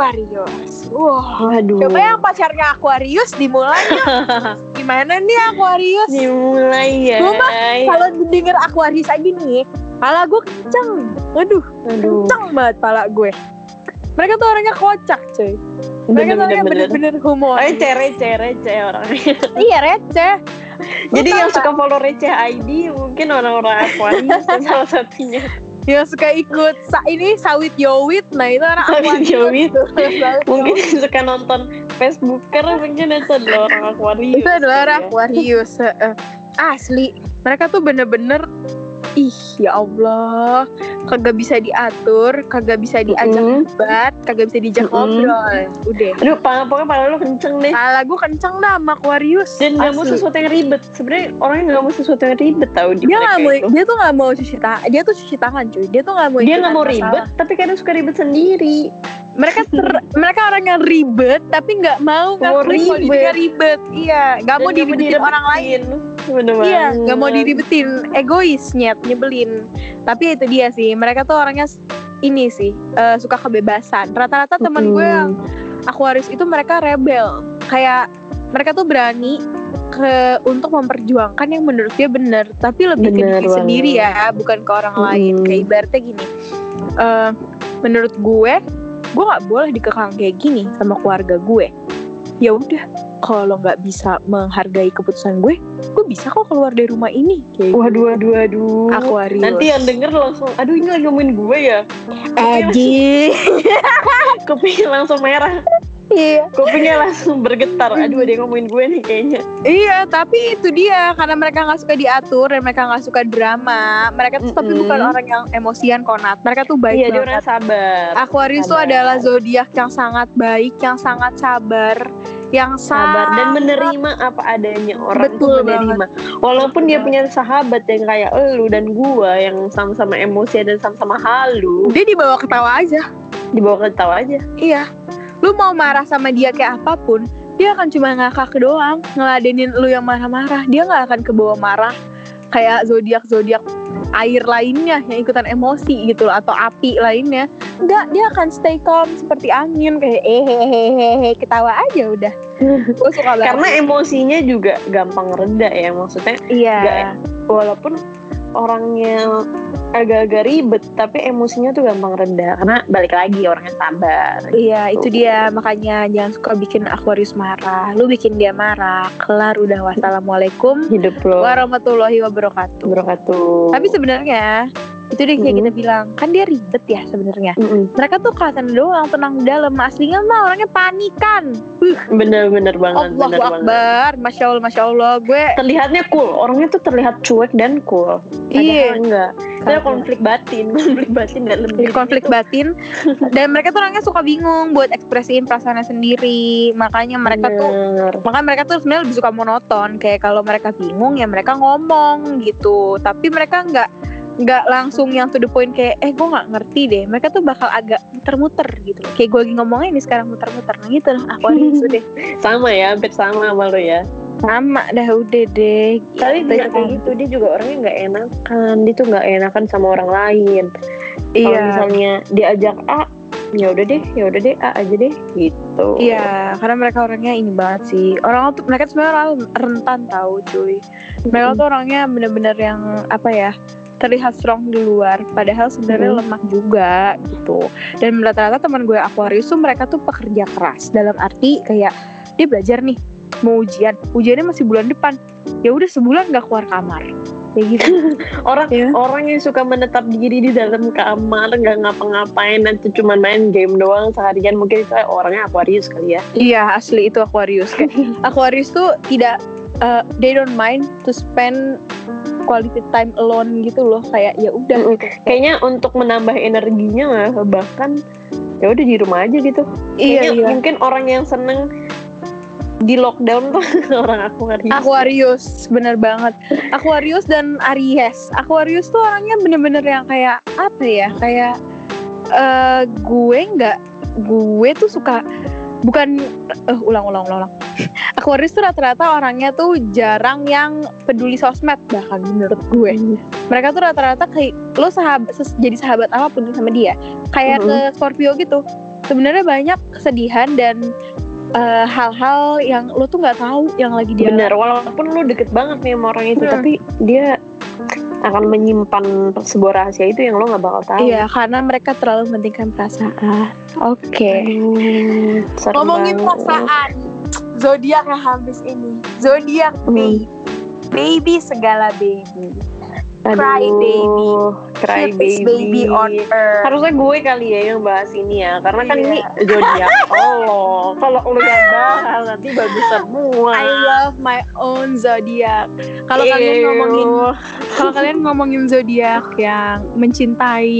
Aquarius Wah Waduh. Coba yang pacarnya Aquarius dimulai *laughs* Gimana nih Aquarius Dimulai ya. Gua Kalau denger Aquarius aja nih Pala gue kenceng Aduh Aduh. kenceng banget pala gue Mereka tuh orangnya kocak cuy Mereka tuh orangnya Bener-bener. bener-bener *laughs* humor Ay, receh receh orangnya. Iya receh Lu Jadi tau yang nggak? suka follow receh ID mungkin orang-orang *laughs* Aquarius tuh salah satunya. Iya. Yang suka ikut sa- Ini sawit yowit Nah itu orang Sawit Aquarius yowit. *laughs* Sawit Mungkin yang suka nonton Facebooker mungkin itu adalah orang Aquarius. itu adalah ya. orang Aquarius heeh. asli mereka tuh bener-bener ih ya Allah kagak bisa diatur kagak bisa diajak Mm-mm. debat kagak bisa diajak Mm-mm. ngobrol udah Aduh, pang- pokoknya pala lu kenceng deh. Alah gue kenceng dah sama Aquarius Dan nggak mau Asli. sesuatu yang ribet. Sebenarnya orangnya nggak mau sesuatu yang ribet tau di dia mereka nggak mau itu. dia tuh nggak mau cuci tangan dia tuh cuci tangan cuy dia tuh nggak mau Dia ikutan nggak mau masalah. ribet, tapi kadang suka ribet sendiri. *laughs* mereka ter- mereka orang yang ribet tapi nggak mau Mau ngakuin kalau ribet. dirinya ribet iya nggak mau diribetin orang lain Bener Iya, nggak mau banget. diribetin, egois, nyet, nyebelin. Tapi itu dia sih, mereka tuh orangnya s- ini sih eh, suka kebebasan. Rata-rata teman gue yang Aquarius itu mereka rebel, kayak mereka tuh berani ke untuk memperjuangkan yang menurut dia benar, tapi lebih Bener ke diri banget. sendiri ya, bukan ke orang Mm-mm. lain. Kayak ibaratnya gini, eh, menurut gue, gue nggak boleh dikekang kayak gini sama keluarga gue. Ya udah, kalau nggak bisa menghargai keputusan gue, gue bisa kok keluar dari rumah ini. Kayak Waduh, waduh, waduh. gitu. Aquarius. Nanti yang denger langsung, aduh ini lagi ngomongin gue ya. Aji. Kupingnya langsung merah, Iya. kupingnya langsung bergetar. Hmm. Aduh ada yang ngomongin gue nih kayaknya. Iya, tapi itu dia karena mereka nggak suka diatur dan mereka nggak suka drama. Mereka tuh tapi Mm-mm. bukan orang yang emosian konat. Mereka tuh baik Iya dia orang banget. Ah, sabar. Aquarius tuh sabar. adalah zodiak yang sangat baik, yang sangat sabar, yang sabar dan sangat- menerima apa adanya orang tuh Betul menerima walaupun dia Betul punya sahabat yang kayak elu dan gua yang sama-sama emosi dan sama-sama halu Dia dibawa ketawa aja. dibawa ke tawa aja Iya. Lu mau marah sama dia kayak apapun, dia akan cuma ngakak doang, ngeladenin lu yang marah-marah. Dia nggak akan kebawa marah kayak zodiak-zodiak air lainnya yang ikutan emosi gitu loh atau api lainnya. enggak dia akan stay calm seperti angin kayak eh hehehe ketawa aja udah gue suka banget Karena emosinya juga gampang reda ya maksudnya. iya nggak- Walaupun orangnya agak-agak ribet, tapi emosinya tuh gampang reda. Karena balik lagi orangnya sabar. Iya itu Tuh. dia makanya jangan suka bikin Aquarius marah Lu bikin dia marah Kelar udah wassalamualaikum Hidup lo warahmatullahi wabarakatuh berkatu. Tapi sebenarnya itu deh kayak Gitu. Hmm. kita bilang kan dia ribet ya sebenarnya Mm-mm. mereka tuh kelihatan doang tenang di dalam aslinya mah orangnya panikan bener-bener banget, Allahu bener banget. Akbar masya Allah masya Allah gue Terlihatnya cool, orangnya tuh terlihat cuek dan cool. Padahal iya enggak. Itu Karena- konflik batin, *laughs* konflik batin dan lebih konflik batin dan mereka tuh orangnya suka bingung buat ekspresiin perasaannya sendiri makanya mereka tuh Bener. Makanya mereka tuh sebenarnya lebih suka monoton kayak kalau mereka bingung ya mereka ngomong gitu tapi mereka nggak nggak langsung yang to the point kayak eh gue nggak ngerti deh mereka tuh bakal agak muter-muter gitu loh. kayak gue lagi ngomongnya ini sekarang muter-muter nah gitu lah aku deh sama ya, hampir sama sama lo ya. sama dah udah deh Tapi Gitu. dia kayak gitu dia juga orangnya nggak enakan, dia tuh nggak enakan sama orang lain. Kalau iya misalnya diajak A, ya udah deh, ya udah deh A aja deh gitu. Iya, karena mereka orangnya ini banget sih. Orang tuh mereka tuh sebenarnya orang rentan tahu cuy. Mereka tuh orangnya bener-bener yang apa ya terlihat strong di luar, padahal sebenarnya Mm-mm. lemah juga gitu. Dan rata-rata teman gue Aquarius tuh mereka tuh pekerja keras dalam arti kayak dia belajar nih mau ujian, ujiannya masih bulan depan. Ya udah sebulan nggak keluar kamar, kayak gitu. orang Iya. orang yang suka menetap diri di dalam kamar nggak ngapa-ngapain dan tuh cuma main game doang seharian mungkin itu orangnya Aquarius kali ya. Iya asli itu Aquarius. Kayak Aquarius tuh tidak uh, they don't mind to spend quality time alone gitu loh kayak ya udah gitu. Kayaknya untuk menambah energinya bahkan ya udah di rumah aja gitu. Iya, Kayaknya mungkin orang yang seneng di lockdown tuh *laughs* orang Aquarius. Aquarius bener banget Aquarius dan Aries Aquarius tuh orangnya bener-bener yang kayak apa ya kayak eh gue nggak gue tuh suka bukan eh ulang ulang ulang *laughs* ulang Aquarius tuh rata-rata orangnya tuh jarang yang peduli sosmed bahkan menurut gue Hmm. mereka tuh rata-rata kayak lo sahabat ses- jadi sahabat apapun sama dia kayak ke Scorpio gitu sebenarnya banyak kesedihan dan eh, hal-hal yang lo tuh nggak tahu yang lagi dia Bener, walaupun lu deket banget nih sama orang itu, Hmm. tapi dia akan menyimpan sebuah rahasia itu yang lo nggak bakal tahu. Iya, karena mereka terlalu mementingkan perasaan. Oke. Aduh, serem banget. zodiak yang habis ini, zodiak baby. baby segala baby, Aduh, Cry baby. cry baby. earth. Harusnya gue kali ya yang bahas ini ya, karena kan Iya. ini zodiak *laughs* Allah. Kalau lu yang bahas nanti bagus semua. I love my own zodiak. Kalau kalian Ew. ngomongin kalau kalian ngomongin zodiak yang mencintai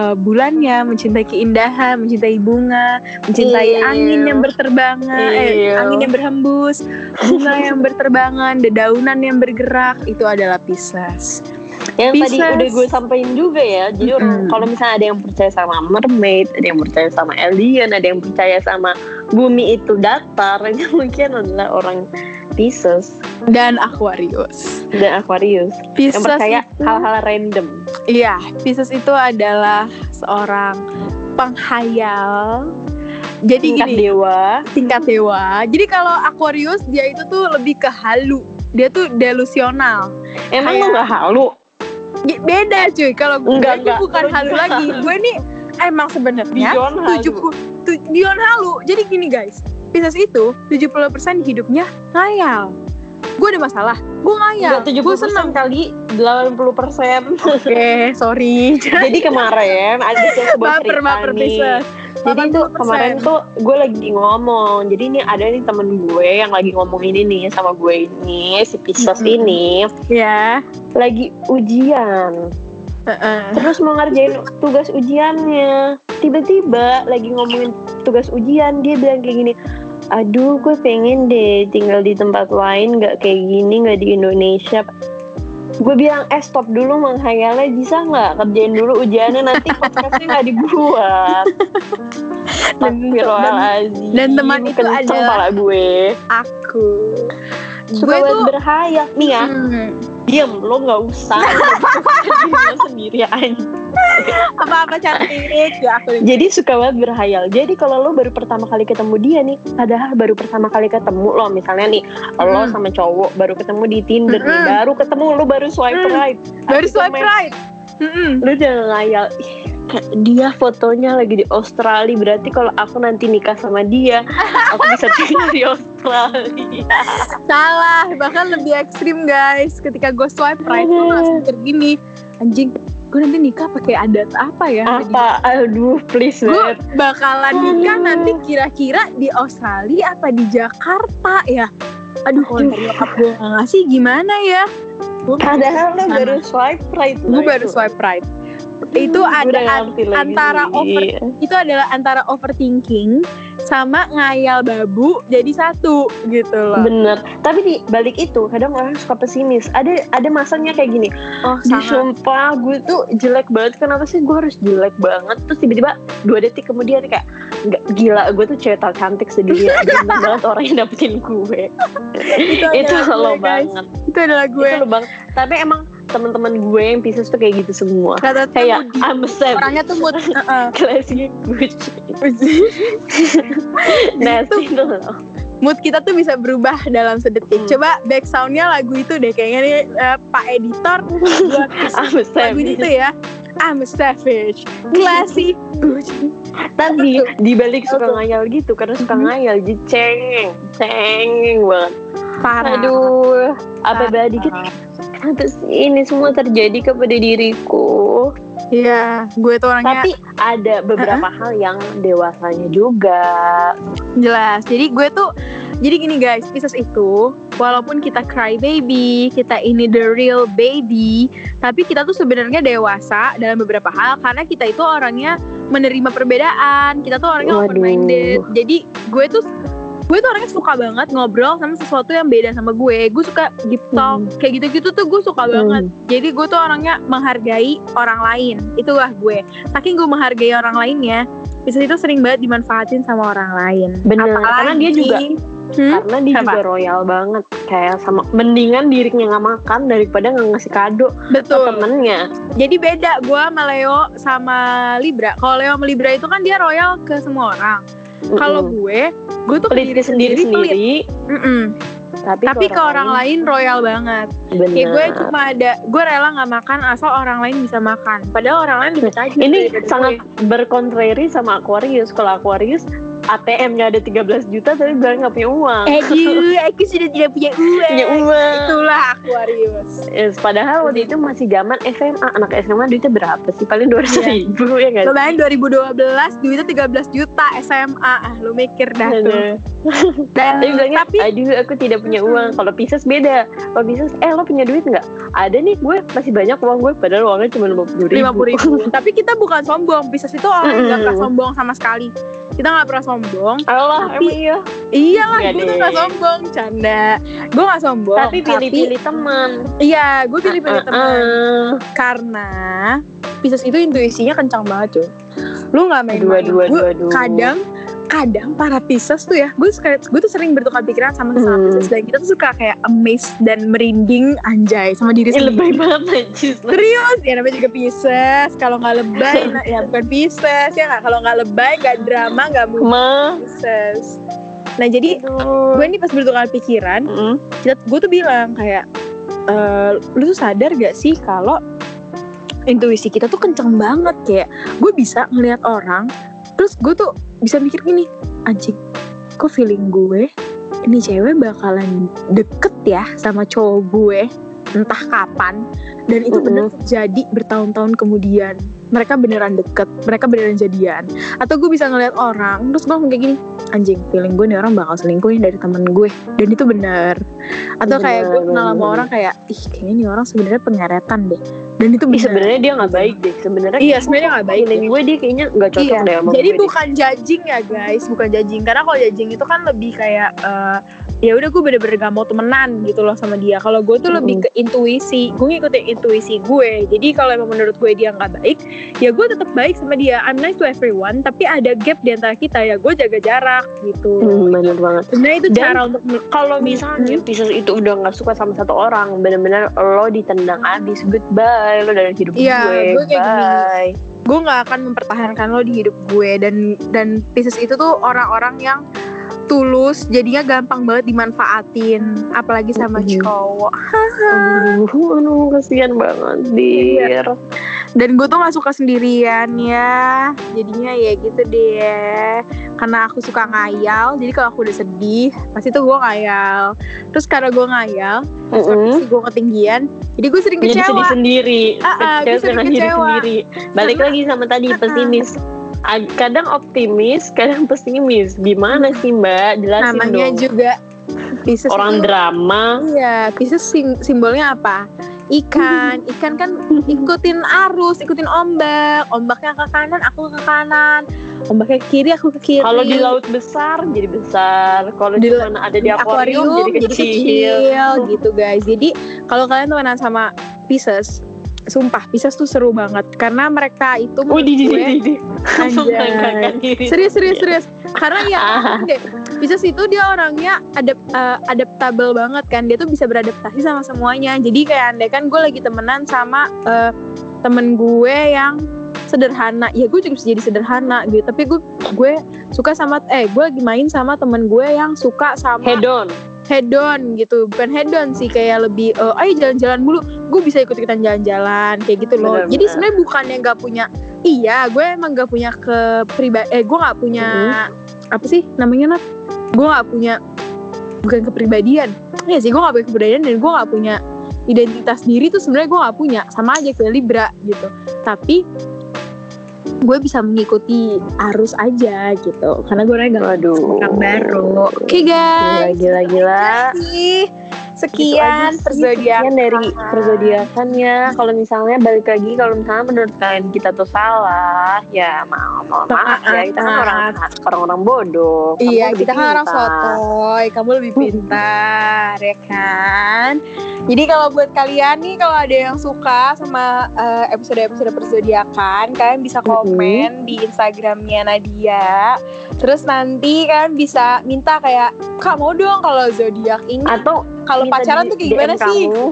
uh, bulannya, mencintai keindahan, mencintai bunga, mencintai Ew. angin yang berterbangan, eh, Ew. angin yang berhembus, bunga yang berterbangan, dedaunan yang bergerak, itu adalah Pisces. yang Pisces. tadi udah gue sampein juga ya jadi orang Mm-mm. kalau misalnya ada yang percaya sama mermaid ada yang percaya sama alien ada yang percaya sama bumi itu datar *laughs* itu mungkin adalah orang Pisces Dan Aquarius. dan Aquarius Pisces yang percaya itu- hal-hal random Iya, Pisces itu adalah seorang penghayal. Jadi tingkat gini, dewa tingkat dewa. Jadi kalau Aquarius dia itu tuh lebih ke halu. Dia tuh delusional. emang lo Kayak- nggak halu G- Beda cuy. Kalau gue Enggak, tuh enggak. bukan halu lagi. Gue nih emang sebenarnya Dion halu 70 tu- Dion halu. Jadi gini guys, Pisces itu 70% hidupnya ngayal. Gue ada masalah, gue ngayal. tujuh Gue Iya, seneng. kali 80 persen Oke, sorry. jadi kemarin ada yang sebuah Baper, cerita baper nih Pisces. Jadi tuh 80%. kemarin tuh gue lagi ngomong. Jadi ini ada nih temen gue yang lagi ngomong ini nih sama gue ini si Pisces Mm-mm. ini Ya. lagi ujian. Terus mau ngerjain tugas ujiannya. Tiba-tiba lagi ngomongin tugas ujian dia bilang kayak gini. Aduh, gue pengen deh tinggal di tempat lain, nggak kayak gini, nggak di Indonesia. Gue bilang, eh stop dulu menghayalnya, bisa nggak kerjain dulu ujiannya nanti podcastnya nggak dibuat. *laughs* Dan- Astagfirullahaladzim dan teman itu Kenceng adalah- pala gue Aku. Suka gue banget tuh berhayal Nih ya Hmm. *laughs* Diem Lo gak usah Diri lo sendiri aja apa-apa cantik ya aku Jadi suka banget berhayal. Jadi kalau lo baru pertama kali ketemu dia nih, padahal baru pertama kali ketemu lo misalnya nih, lo Mm. sama cowok baru ketemu di Tinder nih, Mm-mm. baru ketemu lo baru swipe Mm. right. Hmm. baru Abis itu swipe main- right Hmm. Mm-mm. Lo jangan ngayal. "Ih, kayak Dia fotonya lagi di Australia, berarti kalau aku nanti nikah sama dia, aku bisa *laughs* tinggal di Australia. salah bahkan lebih ekstrim guys ketika gue swipe right gue langsung mikir gini anjing gue nanti nikah pakai adat apa ya Apa? Aduh, please gue banget. bakalan nikah Aduh. nanti kira-kira di Australia apa di Jakarta ya aduh kalau ntar nyokap gue nggak ngasih gimana ya Gua- Padahal lo Mana? baru swipe right. gue lo baru itu. swipe right itu Gua udah ada ngerti lagi Iya. antara sih. over itu adalah antara overthinking sama ngayal babu jadi satu gitu loh Bener. Tapi di balik itu kadang orang suka pesimis. Ada ada masanya kayak gini. oh Di sumpah gue tuh jelek banget. Kenapa sih gue harus jelek banget? Terus tiba-tiba dua detik kemudian kayak nggak gila gue tuh cewek tak cantik *laughs* sendiri. Ada banget orang yang dapetin gue. itu, itu adalah gue, lo guys. banget. itu adalah gue Itu lo banget. Tapi emang teman-teman gue yang Pisces tuh kayak gitu semua. kata tuh Kayak Moody. I'm a savage. orangnya tuh *laughs* mood Heeh. Kelasnya Gucci. Itu- Nasty tuh lo. mood kita tuh bisa berubah dalam Hmm. sedetik coba back soundnya lagu itu deh kayaknya nih eh, pak editor *laughs* buat I'm a lagu savage. itu ya I'm a savage classy Tapi Kan di balik suka Betul. ngayal gitu karena suka Mhm. ngayal jadi cengeng, cengeng banget. parah Aduh, Nah. apa beda dikit atas ini semua terjadi kepada diriku. Iya, gue tuh orangnya Tapi ada beberapa hal yang dewasanya juga. jelas. Jadi gue tuh jadi gini guys, Pisces itu walaupun kita cry baby, kita ini the real baby, tapi kita tuh sebenarnya dewasa dalam beberapa hal karena kita itu orangnya menerima perbedaan. Kita tuh orangnya Waduh. open minded. Jadi gue tuh gue tuh orangnya suka banget ngobrol sama sesuatu yang beda sama gue. Gue suka deep talk Hmm. kayak gitu-gitu tuh gue suka banget. Jadi gue tuh orangnya menghargai orang lain. Itulah gue. Saking gue menghargai orang lainnya, Pisces itu sering banget dimanfaatin sama orang lain. Bener, karena dia juga- Hmm? Karena dia Apa? juga royal banget kayak sama mendingan dirinya nggak makan daripada nggak ngasih kado ke Betul. temennya. Jadi beda gue sama Leo sama Libra. Kalau Leo sama Libra itu kan dia royal ke semua orang. Kalau Mm-mm. gue, gue tuh pelit ke diri sendiri pelit. sendiri, Mm-mm. tapi, Tapi ke orang lain royal banget. bener. Kayak gue cuma ada, gue rela nggak makan asal orang lain bisa makan. Padahal orang lain lebih tajam. Ini daripada sangat berkontrari sama Aquarius. Kalau Aquarius ATM-nya ada 13 juta tapi bilang nggak punya uang. *laughs* gue. Aduh, aku Eh, sudah tidak punya uang. punya uang. Itulah Aquarius. Yes, padahal waktu itu masih zaman SMA. Anak SMA duitnya berapa sih? Paling 200 Iya. ribu ya nggak Lo sih? bayangin 2012 duitnya 13 juta SMA. Ah, lu mikir dah tuh. Aduh. Dan, Tapi Iya, bilangnya, tapi aduh aku tidak punya uang. Kalau Pisces beda. Kalau Pisces, eh lo punya duit nggak? Ada nih gue masih banyak uang gue. Padahal uangnya cuma 50 ribu. lima puluh ribu. Tapi kita bukan sombong. Pisces itu orang yang gak Mm-mm. pernah sombong sama sekali. Kita gak pernah sombong. Allah, Tapi- emang iya. Iyalah, Iya gue tuh deh. gak sombong, canda. Gue gak sombong. Tapi pilih-pilih teman. Iya, gue pilih-pilih teman. Ah, Karena Pisces itu intuisinya kencang banget cuy. Lu gak main-main. dua, dua, Gua dua, dua. kadang kadang para Pisces tuh ya gue suka gue tuh sering bertukar pikiran sama sesama Hmm. Pisces dan kita tuh suka kayak amazed dan merinding anjay sama diri Ini Iya, lebih *laughs* sendiri banget najis. serius ya namanya juga Pisces kalau nggak lebay nah, ya bukan Pisces ya nggak kalau nggak lebay nggak drama nggak mungkin Ma. Pisces nah jadi gue Aduh. nih pas bertukar pikiran Mm. kita gue tuh bilang kayak "Eh, lu tuh sadar gak sih kalau intuisi kita tuh kenceng banget kayak gue bisa ngelihat orang terus gue tuh bisa mikir gini anjing kok feeling gue ini cewek bakalan deket ya sama cowok gue entah kapan dan itu bener terjadi bertahun-tahun kemudian mereka beneran deket mereka beneran jadian atau gue bisa ngelihat orang terus gue ngomong kayak gini anjing feeling gue nih orang bakal selingkuh nih dari temen gue dan itu bener atau kayak gue Bener, kenal sama bener. orang kayak ih kayaknya nih orang sebenarnya pengeretan deh dan itu Ih, bener sebenarnya dia nggak baik deh. Sebenarnya Iya, sebenarnya nggak baik Feeling gue dia kayaknya nggak cocok Iya. deh sama Jadi gue deh. bukan judging ya guys, bukan judging karena kalau judging itu kan lebih kayak eh, ya udah gue bener-bener gak mau temenan gitu loh sama dia kalau gue tuh lebih ke intuisi gue ngikutin intuisi gue jadi kalau emang menurut gue dia nggak baik ya gue tetap baik sama dia I'm nice to everyone tapi ada gap di antara kita ya gue jaga jarak gitu Hmm, bener banget. sebenarnya itu Dan- cara untuk men- Kalau Hmm. misalnya Pisces itu udah nggak suka sama satu orang, bener-bener lo ditendang abis, goodbye, lo dari hidup Iya, gue, gue kayak gini. bye. gue nggak akan mempertahankan lo di hidup gue dan dan Pisces itu tuh orang-orang yang tulus jadinya gampang banget dimanfaatin apalagi sama Mhm. cowok Aduh, aduh, kasihan banget, Iya. dir. dan gue tuh nggak suka sendirian ya jadinya ya gitu deh karena aku suka ngayal jadi kalau aku udah sedih pasti tuh gue ngayal terus karena gue ngayal Mm-mm. si gue ketinggian jadi gue sering Mm-hmm. Jadi sedih kecewa sendiri, Ah, ah, gue kecewa dengan sering diri kecewa. sendiri. Balik lagi sama tadi, Ah, ah. pesimis. Ag- Kadang optimis, kadang pesimis. Gimana sih mbak? Jelasin namanya dong. juga Pisces Orang tuh- drama. Iya, Pisces sim- simbolnya apa? *laughs* Ikan, ikan kan ikutin arus, ikutin ombak. Ombaknya ke kanan, aku ke kanan. Ombaknya ke kiri, aku ke kiri. Kalau di laut besar jadi besar, kalau Iya, di Di la- mana ada di akuarium, jadi kecil. kecil, gitu guys. Jadi kalau kalian temenan sama Pisces, sumpah Pisces tuh seru banget karena mereka itu Wih, di di menurut gue- di di. Langsung kan Anjay. mengangkat diri. serius serius serius karena ya Ah. deh, Pisces itu dia orangnya adap eh, adaptable banget kan dia tuh bisa beradaptasi sama semuanya jadi kayak andai kan gue lagi temenan sama eh, temen gue yang sederhana ya gue juga bisa jadi sederhana gitu tapi gue gue suka sama eh gue lagi main sama temen gue yang suka sama Head on. head on gitu bukan head on sih kayak lebih eh, ayo jalan-jalan mulu gue bisa ikut ikutan jalan-jalan kayak gitu loh Benar, jadi benar. sebenarnya bukan yang nggak punya iya gue emang nggak punya ke eh gue nggak punya Mm-hmm. apa sih namanya Nat gue nggak punya bukan kepribadian ya sih gue nggak punya kepribadian dan gue nggak punya identitas diri tuh sebenarnya gue nggak punya sama aja kayak Libra gitu tapi gue bisa mengikuti arus aja gitu karena gue orangnya gak Waduh. orang baru oke guys Gila gila gila. Gitu kasih. aja Sekian sih, perzodiakan sekian dari perzodiakannya. Kalau misalnya balik lagi, kalau misalnya menurut kalian kita tuh salah, ya maaf, maaf, maaf ya kita kan Maaf. orang orang bodoh. Kamu Iya, lebih kita kan orang pintar. sotoy, kamu lebih pintar, ya kan? Jadi kalau buat kalian nih, kalau ada yang suka sama eh, episode-episode perzodiakan, kalian bisa komen di Instagramnya Nadia. Terus nanti kalian bisa minta kayak, kak mau dong kalau zodiak ini, Atau kalau minta pacaran di- tuh kayak gimana DM sih? Kamu,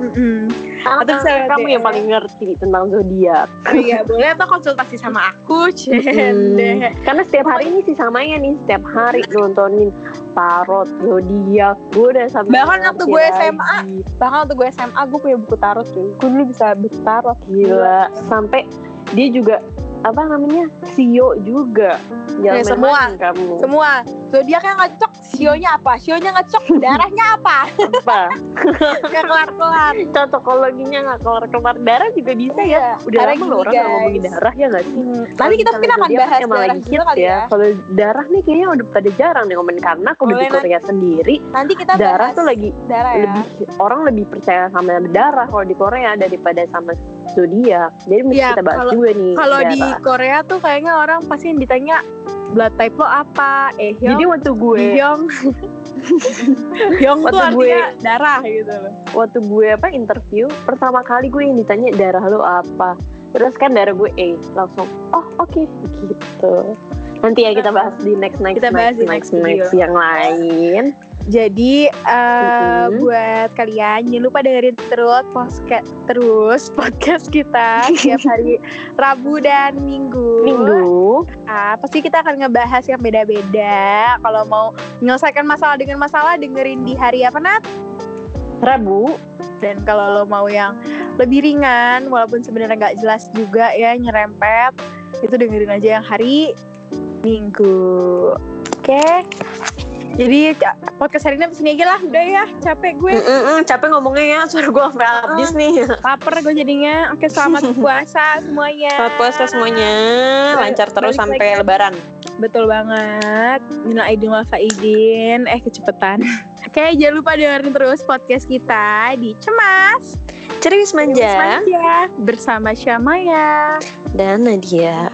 Mm-mm. *laughs* atau Atau bisa kamu yang DM. paling ngerti tentang zodiak. Oh *laughs* iya, boleh atau konsultasi sama aku, Hmm. cendek. Karena setiap hari ini sih samanya nih setiap hari nontonin tarot zodiak gue udah sampai Bahkan waktu gue ngerti SMA. lagi. Bahkan waktu gue SMA gue punya buku tarot cuy. Gue dulu bisa buku tarot Iya. gila sampai dia juga apa namanya Sio juga jangan Ya, semua. main-main kamu Semua zodiaknya ngecok, sionya apa? Sionya *laughs* ngecok, darahnya apa? apa Gak kelar-kelar. cocokologinya nggak keluar keluar darah juga bisa ya udah Iya. Karena lama gini, loh orang nggak guys. ngomongin darah ya nggak sih Hmm. Nanti kita mungkin akan bahas darah juga kali ya. Kalau darah nih kayaknya udah pada jarang nih ngomongin karena aku udah di Boleh, Nat. Korea sendiri Nanti kita darah bahas tuh lagi darah ya. lebih orang lebih percaya sama darah kalau di Korea daripada sama zodiak. Jadi mungkin Iya, kita bahas kalau- juga nih. Kalau di darah. Korea tuh kayaknya orang pasti yang ditanya blood type lo apa? Eh, jadi hyung, waktu gue hyung. *laughs* hyung tuh Waktu gue- artinya darah gitu loh. waktu gue apa interview pertama kali gue yang ditanya darah lo apa terus kan darah gue A langsung oh oke gitu nanti ya kita bahas di next next Nah, Kita next bahas di next next next yang lain Jadi eh, Mhm. buat kalian jangan lupa dengerin terus podcast terus podcast kita tiap hari Rabu dan Minggu. minggu Ah, pasti kita akan ngebahas yang beda-beda. Kalau mau menyelesaikan masalah dengan masalah dengerin di hari apa Nat? Rabu Dan kalau lo mau yang lebih ringan walaupun sebenarnya nggak jelas juga ya nyerempet itu dengerin aja yang hari Minggu. Oke. Jadi ca- podcast hari ini sampai sini aja lah. Udah ya, capek gue. capek ngomongnya ya suara gue sampai habis nih Laper gue jadinya. Oke, selamat puasa semuanya. semuanya Lancar terus Balik sampai lagi. lebaran Betul banget. Minal aidin wal faidin. Eh, kecepetan. *laughs* Oke, jangan lupa dengerin terus podcast kita di Cemas. Ceris Cemas Manja. Bersama Syamaya. dan Nadia